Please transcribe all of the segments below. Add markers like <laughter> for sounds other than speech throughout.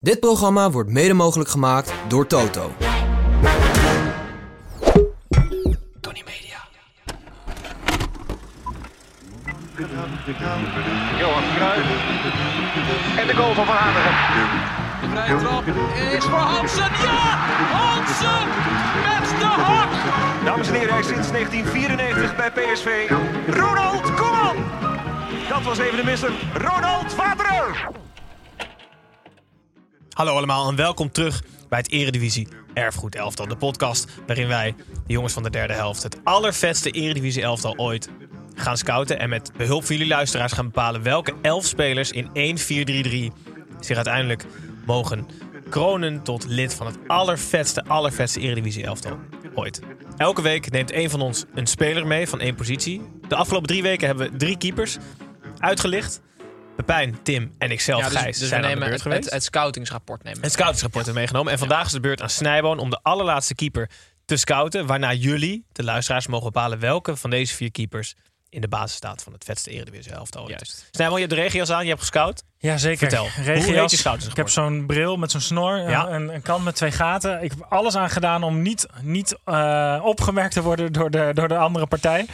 Dit programma wordt mede mogelijk gemaakt door Toto. Tony Media. Johan Cruijff. En de goal van Van Hanegem. Vrije trap is voor Hansen. Ja! Hansen met de hak! Dames en heren, hij is sinds 1994 bij PSV. Ronald Koeman! Dat was even de mister. Ronald Vader! Hallo allemaal en welkom terug bij het Eredivisie Erfgoed Elftal. De podcast waarin wij, de jongens van de derde helft, het allervetste Eredivisie Elftal ooit gaan scouten. En met behulp van jullie luisteraars gaan bepalen welke elf spelers in 1-4-3-3 zich uiteindelijk mogen kronen tot lid van het allervetste, allervetste Eredivisie Elftal ooit. Elke week neemt een van ons een speler mee van één positie. De afgelopen drie weken hebben we drie keepers uitgelicht. Pepijn, Tim en ikzelf, Ja, dus, Gijs, dus we zijn aan de nemen beurt het, geweest. het, het scoutingsrapport nemen. Het scoutingsrapport hebben meegenomen. En vandaag is de beurt aan Snijboon om de allerlaatste keeper te scouten. Waarna jullie, de luisteraars, mogen bepalen welke van deze vier keepers in de basis staat van het vetste Eredivisie elftal ooit. Juist. Snijboon, je hebt de regio's aan, je hebt gescout. Ja, zeker. Vertel, hoe Regenjas. heet je schouders Ik heb zo'n bril met zo'n snor, eh, Ja. en een, een kant met twee gaten. Ik heb alles aan gedaan om niet, niet eh, opgemerkt te worden door de, door de andere partij.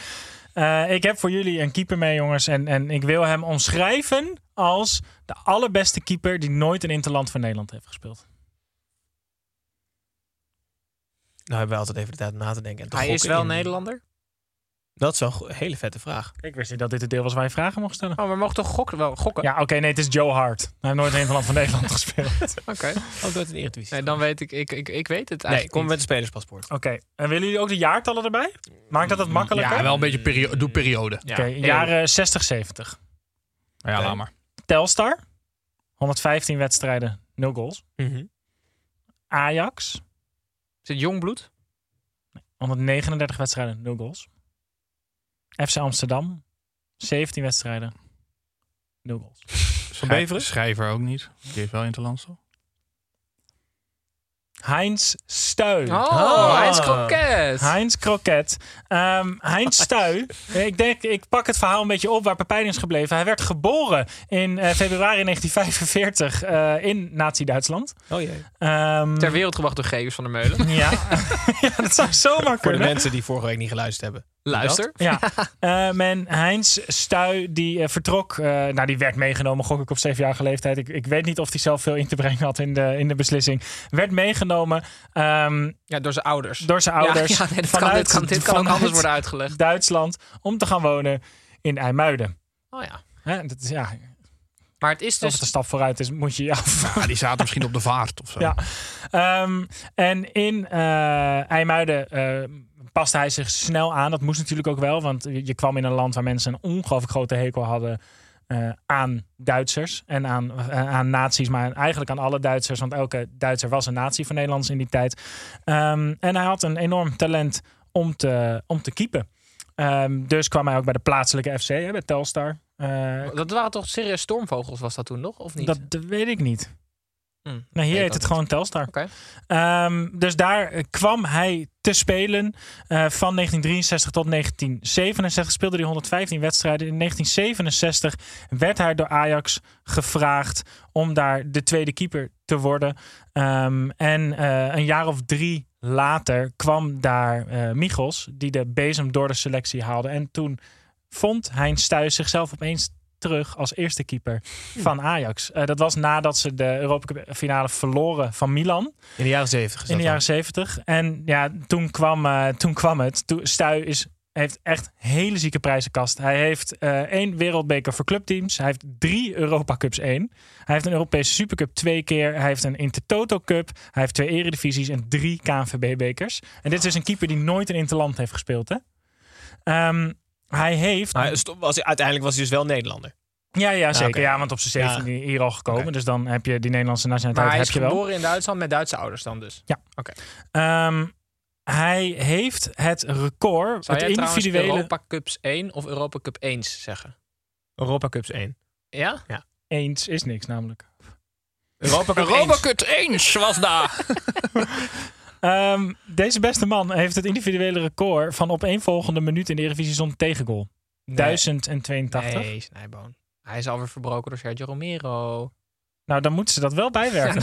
Eh, ik heb voor jullie een keeper mee, jongens. En, en ik wil hem omschrijven als de allerbeste keeper die nooit een interland voor Nederland heeft gespeeld. Nou hebben we altijd even de tijd om na te denken. En te Hij is gokken wel in- Nederlander. Dat is wel een go- hele vette vraag. Ik wist niet dat dit het deel was waar je vragen mocht stellen. Oh, we mogen toch gokken? Wel, gokken? Ja, oké, nee, het is Joe Hart. Hij heeft nooit een interland voor Nederland <laughs> gespeeld. Oké, Oké. Ook door het Eredivisie. Nee, dan weet ik, ik, ik, ik weet het Nee, eigenlijk kom met niet. een spelerspaspoort. en willen jullie ook de jaartallen erbij? Maakt dat het makkelijker? Ja, wel een beetje perio doe periode. Ja. Oké, jaren 60, 70. Ja, laat laat maar. Telstar, 115 wedstrijden, 0 goals. Mhm. Ajax, Is het Jongbloed? 139 wedstrijden, 0 goals. FC Amsterdam, 17 wedstrijden, 0 goals. Van Beveren? Schrijver ook niet. Die heeft wel Interlands toch? Heinz Stuy. Oh, hij is Ah. kroket. Heinz Kroket. Ehm, Heinz Stuy. ik denk, ik pak het verhaal een beetje op waar Pepijn is gebleven. Hij werd geboren in eh, februari 1945 eh, in Nazi-Duitsland. Oh jee. Ehm, Ter wereld gebracht door Geus van der Meulen. ja. <laughs> ja, dat zou <laughs> zomaar Voor de kunnen. mensen die vorige week niet geluisterd hebben. Luister. Ja, Ehm en Heinz Stuy die eh, vertrok. eh, nou, die werd meegenomen, gok ik op zevenjarige leeftijd. Ik, ik weet niet of hij zelf veel in te brengen had in de, in de beslissing. Werd meegenomen ehm, Ja, door zijn ouders. door zijn Ja, ouders. Ja, nee, dit kan, vanuit- dit kan, dit kan ook vanuit anders worden uitgelegd. Duitsland om te gaan wonen in IJmuiden. Oh ja. Hè, dat is, ja, Maar het is Of het een dus... stap vooruit is, moet je je af. Ja, Ah, die zaten misschien op de vaart of zo. Ja. Ehm, en in eh IJmuiden eh, paste hij zich snel aan. Dat moest natuurlijk ook wel, want je je kwam in een land waar mensen een ongelooflijk grote hekel hadden. eh, aan Duitsers en aan, eh, aan nazi's, maar eigenlijk aan alle Duitsers. Want elke Duitser was een nazi voor Nederlands in die tijd. Ehm, en hij had een enorm talent om te, om te keepen. Ehm, dus kwam hij ook bij de plaatselijke FC, hè, bij Telstar. Eh, Dat waren toch serieus stormvogels was dat toen nog? Of niet? dat, dat weet ik niet. Hm. Nou, hier Weet heet dat het gewoon Telstar. Oké. Ehm, dus daar eh, kwam hij te spelen. Eh, van 1963 tot 1967 speelde hij 115 wedstrijden. In 1967 werd hij door Ajax gevraagd om daar de tweede keeper te worden. Ehm, en eh, een jaar of drie later kwam daar eh Michels, die de bezem door de selectie haalde. En toen vond Heinz Stuys zichzelf opeens terug als eerste keeper van Ajax. Eh, dat was nadat ze de Europa Cup finale verloren van Milan In de jaren 70. is in de dat jaren zeventig. En ja, toen kwam, eh, toen kwam het. Toen, Stuy is, heeft echt hele zieke prijzenkast. Hij heeft eh, één wereldbeker voor clubteams. Hij heeft drie Europa Cups één. Hij heeft een Europese Supercup twee keer. Hij heeft een Intertoto Cup. Hij heeft twee eredivisies en drie KNVB-bekers. En dit is dus een keeper die nooit een interland heeft gespeeld, hè? Ehm, hij heeft... dan. Maar hij stond- was, uiteindelijk was hij dus wel Nederlander. Ja, ja zeker. oké. Ja, want op zijn 17 hier al gekomen. Oké. Dus dan heb je die Nederlandse Maar hij nationaliteit is heb je wel. geboren in Duitsland met Duitse ouders dan dus. Ehm, hij heeft het record, Zou het jij trouwens individuele Europa Cups 1 of Europa Cup 1 zeggen? Europa Cups 1. Ja? eens is niks namelijk. Europa Cup 1. Robocut eens was daar. Ehm, deze beste man heeft het individuele record van opeenvolgende minuut in de Eredivisie zonder tegengoal. 1082. Nee, Snijboon. Hij is alweer verbroken door Sergio Romero. Nou, dan moeten ze dat wel Ja, bijwerken.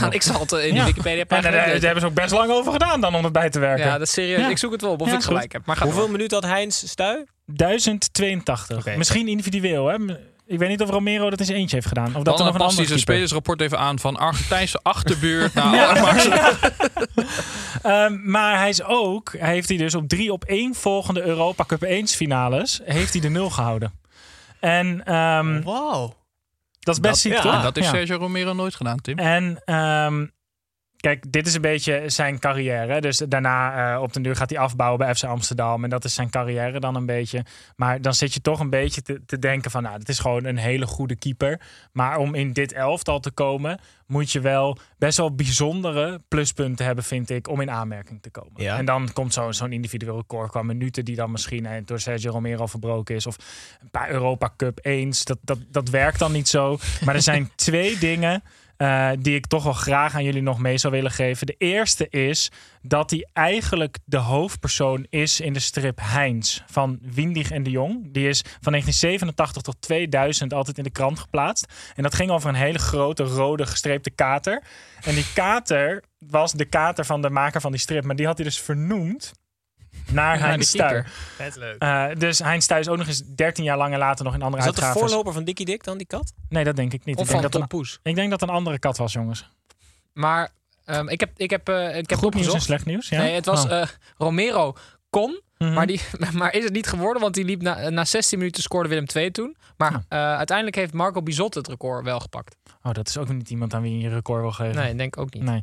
<laughs> nou, ik zal het eh, in de Ja. Wikipedia en daar, pagina daar hebben ze ook best lang over gedaan dan om het bij te werken. Ja, dat is serieus. Ja. Ik zoek het wel op of Ja, ik is goed. gelijk heb. Maar ga Hoeveel door. minuten had Heinz Stuy? 1082. Oké. Misschien individueel, hè? Ik weet niet of Romero dat eens eentje heeft gedaan. Of dat er Dan nog een past hij ander zijn dus keeper. spelersrapport even aan van Argentijnse <laughs> achterbuurt naar Alkmaar. Ehm, maar hij is ook, hij heeft hij dus op drie op één volgende Europa Cup 1 finales, heeft hij de nul gehouden. En ehm, Wow. dat is best ziek, ja, toch? Dat eh, heeft Ja. Sergio Romero nooit gedaan, Tim. En ehm, kijk, dit is een beetje zijn carrière. Dus daarna eh, op den duur gaat hij afbouwen bij FC Amsterdam. En dat is zijn carrière dan een beetje. Maar dan zit je toch een beetje te, te denken van... nou, dit is gewoon een hele goede keeper. Maar om in dit elftal te komen... moet je wel best wel bijzondere pluspunten hebben, vind ik... om in aanmerking te komen. Ja. En dan komt zo- zo'n individueel record qua minuten... die dan misschien eh, door Sergio Romero verbroken is... of een paar Europa Cup eens. Dat, dat, dat werkt dan niet zo. Maar er zijn <laughs> twee dingen eh, die ik toch wel graag aan jullie nog mee zou willen geven. De eerste is dat hij eigenlijk de hoofdpersoon is in de strip Heinz van Windig en de Jong. Die is van 1987 tot 2000 altijd in de krant geplaatst. En dat ging over een hele grote rode gestreepte kater. En die kater was de kater van de maker van die strip. Maar die had hij dus vernoemd naar die Heinz Stuy. keeper. Vet leuk. Eh, dus Heinz Thuis ook nog eens 13 jaar langer later nog in andere Is dat de uitgaven. voorloper van Dikkie Dik dan, die kat? Nee, dat denk ik niet. Of Ik van denk, dat Tom een, Poes. ik denk dat een andere kat was, jongens. Maar ehm, ik heb, ik heb, eh, ik heb Goed nieuws en opgezocht. slecht nieuws. Ja? Nee, het was Oh. eh, Romero kon, Mhm. maar, die, <laughs> maar is het niet geworden, want die liep na, eh, na 16 minuten scoorde Willem 2 toen. Maar eh, uiteindelijk heeft Marco Bizot het record wel gepakt. Oh, dat is ook niet iemand aan wie je een record wil geven. eh, Nee, denk ook niet. Nee.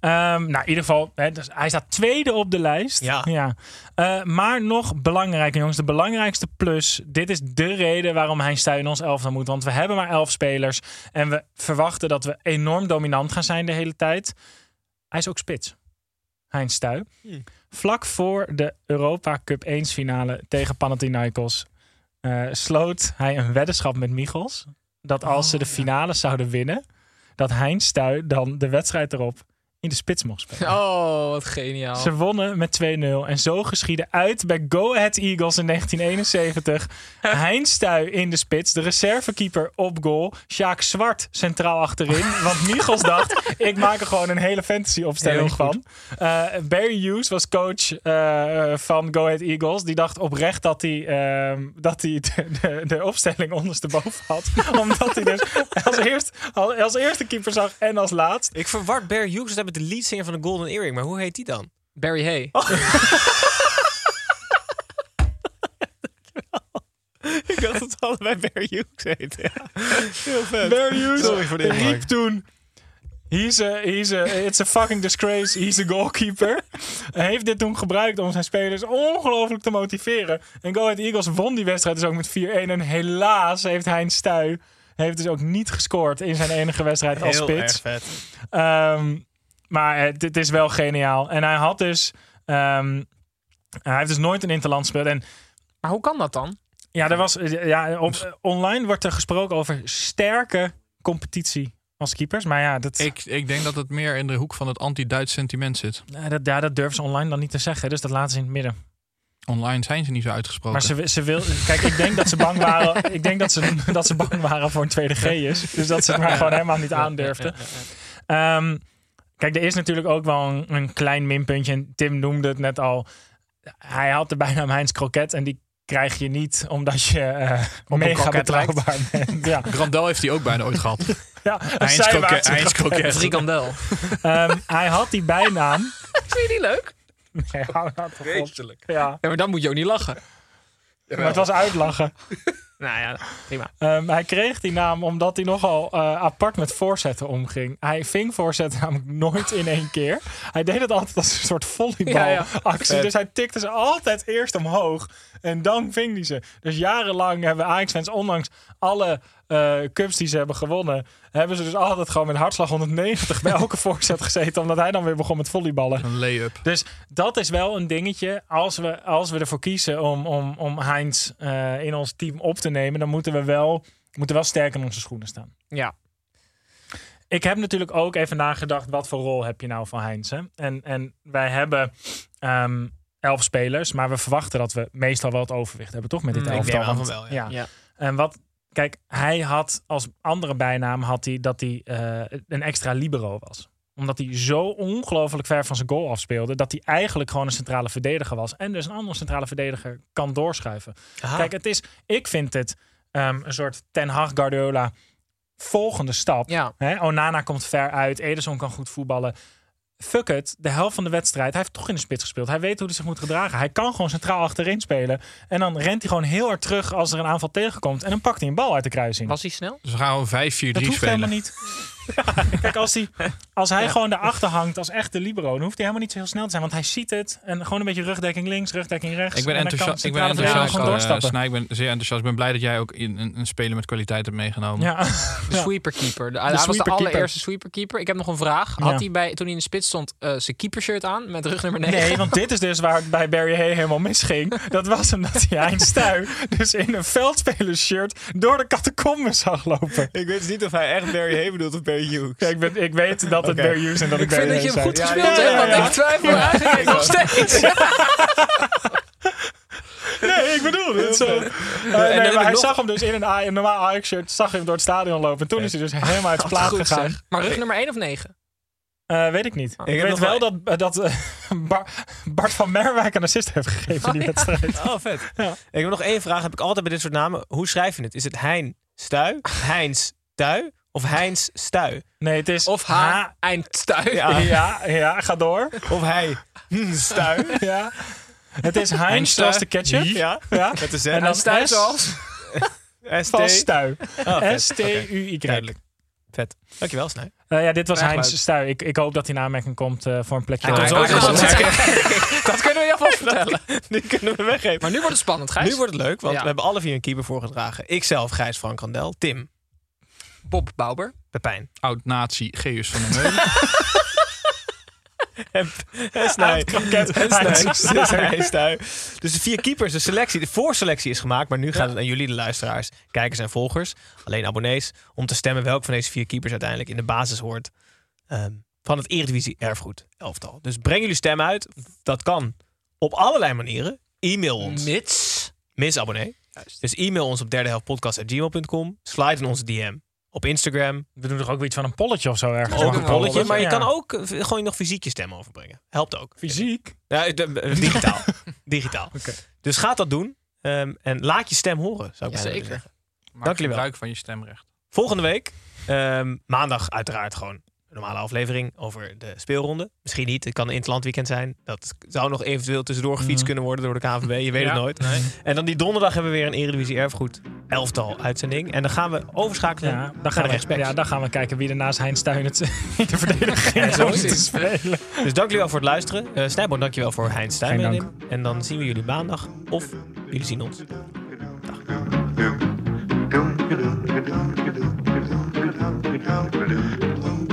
Ehm, nou, in ieder geval, hè, dus hij staat tweede op de lijst. Ja. Eh, maar nog belangrijker, jongens, de belangrijkste plus. Dit is de reden waarom hij Stuy in ons elftal moet. Want we hebben maar elf spelers. En we verwachten dat we enorm dominant gaan zijn de hele tijd. Hij is ook spits. Heinz Stuy. Vlak voor de Europa Cup 1 finale tegen Panathinaikos eh, sloot hij een weddenschap met Michels. Dat als ze de finale zouden winnen, dat Heinz Stuy dan de wedstrijd erop in de spits mocht <laughs> spelen. <laughs> Oh, wat geniaal. Ze wonnen met 2-0 en zo geschiedde uit bij Go Ahead Eagles in <laughs> 1971. Heinz Stuy in de spits, de reservekeeper op goal. Sjaak Zwart centraal achterin. Want <laughs> Michels dacht, ik maak er gewoon een hele fantasy-opstelling Heel goed. van. Eh, Barry Hughes was coach eh, van Go Ahead Eagles. Die dacht oprecht dat hij, ehm, dat hij de, de, de opstelling ondersteboven <laughs> had. Omdat hij dus als, eerst, als, als eerste keeper zag en als laatst. Ik verward Bear Hughes dat met de lead singer van de Golden Earring. Maar hoe heet die dan? Barry Hay. Ik dacht dat het allebei Bear Hughes heet. Heel vet. Barry Hughes Sorry voor de riep inbreng. toen... He's a, he's a, it's a fucking disgrace. He's a goalkeeper. Hij heeft dit toen gebruikt om zijn spelers ongelooflijk te motiveren. En Go Ahead Eagles won die wedstrijd dus ook met 4-1. En helaas heeft Heinz Stuy heeft dus ook niet gescoord in zijn enige wedstrijd als Heel erg spits. vet. Ehm, maar het, het is wel geniaal. En hij had dus... ehm, hij heeft dus nooit een interland gespeeld. En Maar hoe kan dat dan? ja, er was, eh, ja op, online wordt er gesproken over sterke competitie als keepers. Maar ja, dat, Ik, ik denk dat het meer in de hoek van het anti-Duits sentiment zit. eh, dat, ja, dat durven ze online dan niet te zeggen. Dus dat laten ze in het midden. Online zijn ze niet zo uitgesproken. Maar ze, ze wil, kijk, ik denk dat ze bang <laughs> waren, ik denk dat ze, dat ze bang waren voor een tweede G'ers. Dus dat ze het maar gewoon helemaal niet aandurfden. Ehm, kijk, er is natuurlijk ook wel een, een klein minpuntje. En Tim noemde het net al. Hij had de bijnaam Heinz Kroket. En die krijg je niet omdat je eh, mega kroket lijkt. betrouwbaar bent. <laughs> Ja, Grandel heeft die ook bijna ooit gehad. <laughs> ja, een Heinz Kroket- zijwaartse Heinz Kroket. Frikandel. Ehm, hij had die bijnaam. Vind je die leuk? Nee, hou nou toch op. Ja. Ja, maar dan moet je ook niet lachen. Maar het was uitlachen. Nou ja, prima. Ehm, hij kreeg die naam omdat hij nogal eh, apart met voorzetten omging. Hij ving voorzetten namelijk nooit in één keer. Hij deed het altijd als een soort volleybalactie. Dus hij tikte ze altijd eerst omhoog en dan ving hij ze. Dus jarenlang hebben Ajax-fans, ondanks alle eh, cups die ze hebben gewonnen... hebben ze dus altijd gewoon met hartslag 190 bij elke <laughs> voorzet gezeten. Omdat hij dan weer begon met volleyballen. Een lay-up. Dus dat is wel een dingetje. Als we, als we ervoor kiezen om, om, om Heinz eh, in ons team op te nemen, dan moeten we wel, moeten wel sterk in onze schoenen staan. Ja. Ik heb natuurlijk ook even nagedacht, wat voor rol heb je nou van Heinz? Hè? En, en wij hebben ehm, elf spelers, maar we verwachten dat we meestal wel het overwicht hebben, toch? Met dit Mm, ik elftal. neem aan want- van wel, ja. Ja. En wat, kijk, hij had als andere bijnaam had hij, dat hij eh, een extra libero was omdat hij zo ongelooflijk ver van zijn goal afspeelde. dat hij eigenlijk gewoon een centrale verdediger was. En dus een andere centrale verdediger kan doorschuiven. Kijk, het is, ik vind het ehm, een soort Ten Hag Guardiola volgende stap. Ja. Hè, Onana komt ver uit. Ederson kan goed voetballen. Fuck it, de helft van de wedstrijd. Hij heeft toch in de spits gespeeld. Hij weet hoe hij zich moet gedragen. Hij kan gewoon centraal achterin spelen. En dan rent hij gewoon heel hard terug als er een aanval tegenkomt. En dan pakt hij een bal uit de kruising. Was hij snel? Dus we gaan gewoon 5-4-3 dat hoeft spelen. helemaal niet. <laughs> Ja, Kijk, als hij, als hij gewoon daarachter hangt als echte libero, dan hoeft hij helemaal niet zo heel snel te zijn. Want hij ziet het. En gewoon een beetje rugdekking links, rugdekking rechts. Ik ben en dan kan de enthousiast. Ik ben centrale verdediger enthousiast. Gewoon eh, doorstappen. Snij, ik ben zeer enthousiast. Ik ben blij dat jij ook in, een, een speler met kwaliteit hebt meegenomen. ja. De Ja. sweeperkeeper. De- hij was de sweeperkeeper. allereerste sweeperkeeper. Ik heb nog een vraag. Had Ja. hij bij, toen hij in de spits stond eh, zijn keepershirt aan met rug nummer 9? Nee, want dit is dus waar het bij Barry Hay helemaal misging. Dat was omdat hij Einstein dus in een veldspelersshirt door de catacomben zag lopen. Ik weet dus niet of hij echt Barry Hay bedoelt of Barry Hughes. Kijk, ik, ben, ik weet dat het Oké. Barry Hughes en dat ik, Ik vind Barry dat je hem Hay goed zei. gespeeld ja, ja, hebt, ja. want ik twijfel eigenlijk nog steeds. Nee, ik bedoel het zo. Eh, nee, heb ik maar hij nog- zag hem dus in een, A- een normaal Ajax-shirt, zag hem door het stadion lopen. En toen is hij dus helemaal uit de plaat Goed gegaan. zeg. Maar rug nummer 1 of 9? Eh, weet ik niet. Ik, heb weet nog wel wel- dat, eh, dat eh, <laughs> Bar- Bart van Merwijk een assist heeft gegeven in die wedstrijd. <laughs> Oh, vet. Ja. Ik heb nog één vraag. Heb ik altijd bij dit soort namen. Hoe schrijf je het? Is het Hein Stuy, Heinz Tui of Heinz Stuy? Nee, het is... Of H, eindstuin. <laughs> Ja. Ja, ja, ga door. Of hij hm, Stuy? Ja. Het is Heinz, zoals de ketchup. Ja, Ja. met de Z. En dan Stuy S zoals? ST. van Stuy. Oh, vet. Oké. S-T-U-Y. Duidelijk. Vet. Dankjewel, Snij. Eh, ja, dit was Graag Heinz leuk. Stuy. Ik, ik hoop dat hij in aanmerking komt eh, voor een plekje. Hij op komt de zo lijst. terug. Ja. <laughs> Dat kunnen we je alvast vertellen. <laughs> Die kunnen we weggeven. Maar nu wordt het spannend, Gijs. nu wordt het leuk, want Ja. we hebben alle vier een keeper voorgedragen. Ikzelf, Gijs Frank Randel, Tim, Bob Bauber. Pepijn Oud-nazi <laughs> Geus van der Meulen. en, en Snij. En Snij. Heinz. Dus hij is daar. Dus de vier keepers, de selectie, de voorselectie is gemaakt. Maar nu gaat het aan jullie, de luisteraars, kijkers en volgers, alleen abonnees, om te stemmen welk van deze vier keepers uiteindelijk in de basis hoort ehm, van het Eredivisie Erfgoed elftal. Dus breng jullie stem uit. Dat kan op allerlei manieren. E-mail ons. Mits. Mis abonnee. Dus e-mail ons op derdehelftpodcast.gmail.com. Slide in onze DM. Op Instagram. We doen toch ook weer iets van een polletje of zo ergens. Ook Ook een een polletje. Maar je Ja. kan ook eh, gewoon nog fysiek je stem overbrengen. Helpt ook. Fysiek. Ja, eh, de- eh, digitaal. digitaal. <laughs> Oké. Dus ga dat doen. Ehm, en laat je stem horen, zou ik bijna willen Zeker. zeggen. Maak Dank jullie wel. gebruik van je stemrecht. Volgende week, ehm, maandag uiteraard gewoon een normale aflevering over de speelronde. Misschien niet, het kan een interland weekend zijn. Dat zou nog eventueel tussendoor gefietst Mhm. kunnen worden door de KNVB. Je weet Ja, het nooit. nee. En dan die donderdag hebben we weer een Eredivisie Erfgoed elftal uitzending. En dan gaan we overschakelen Ja, dan naar gaan, de we, rechtsbacks. ja, dan gaan we kijken wie er naast Heinz Stuy het <laughs> in de verdediging <laughs> is om te spelen. Dus dank jullie wel voor het luisteren. Eh Snijboom, dank je wel voor Heinz Stijn. Geen meenemen. En dan zien we jullie maandag. Of jullie zien ons.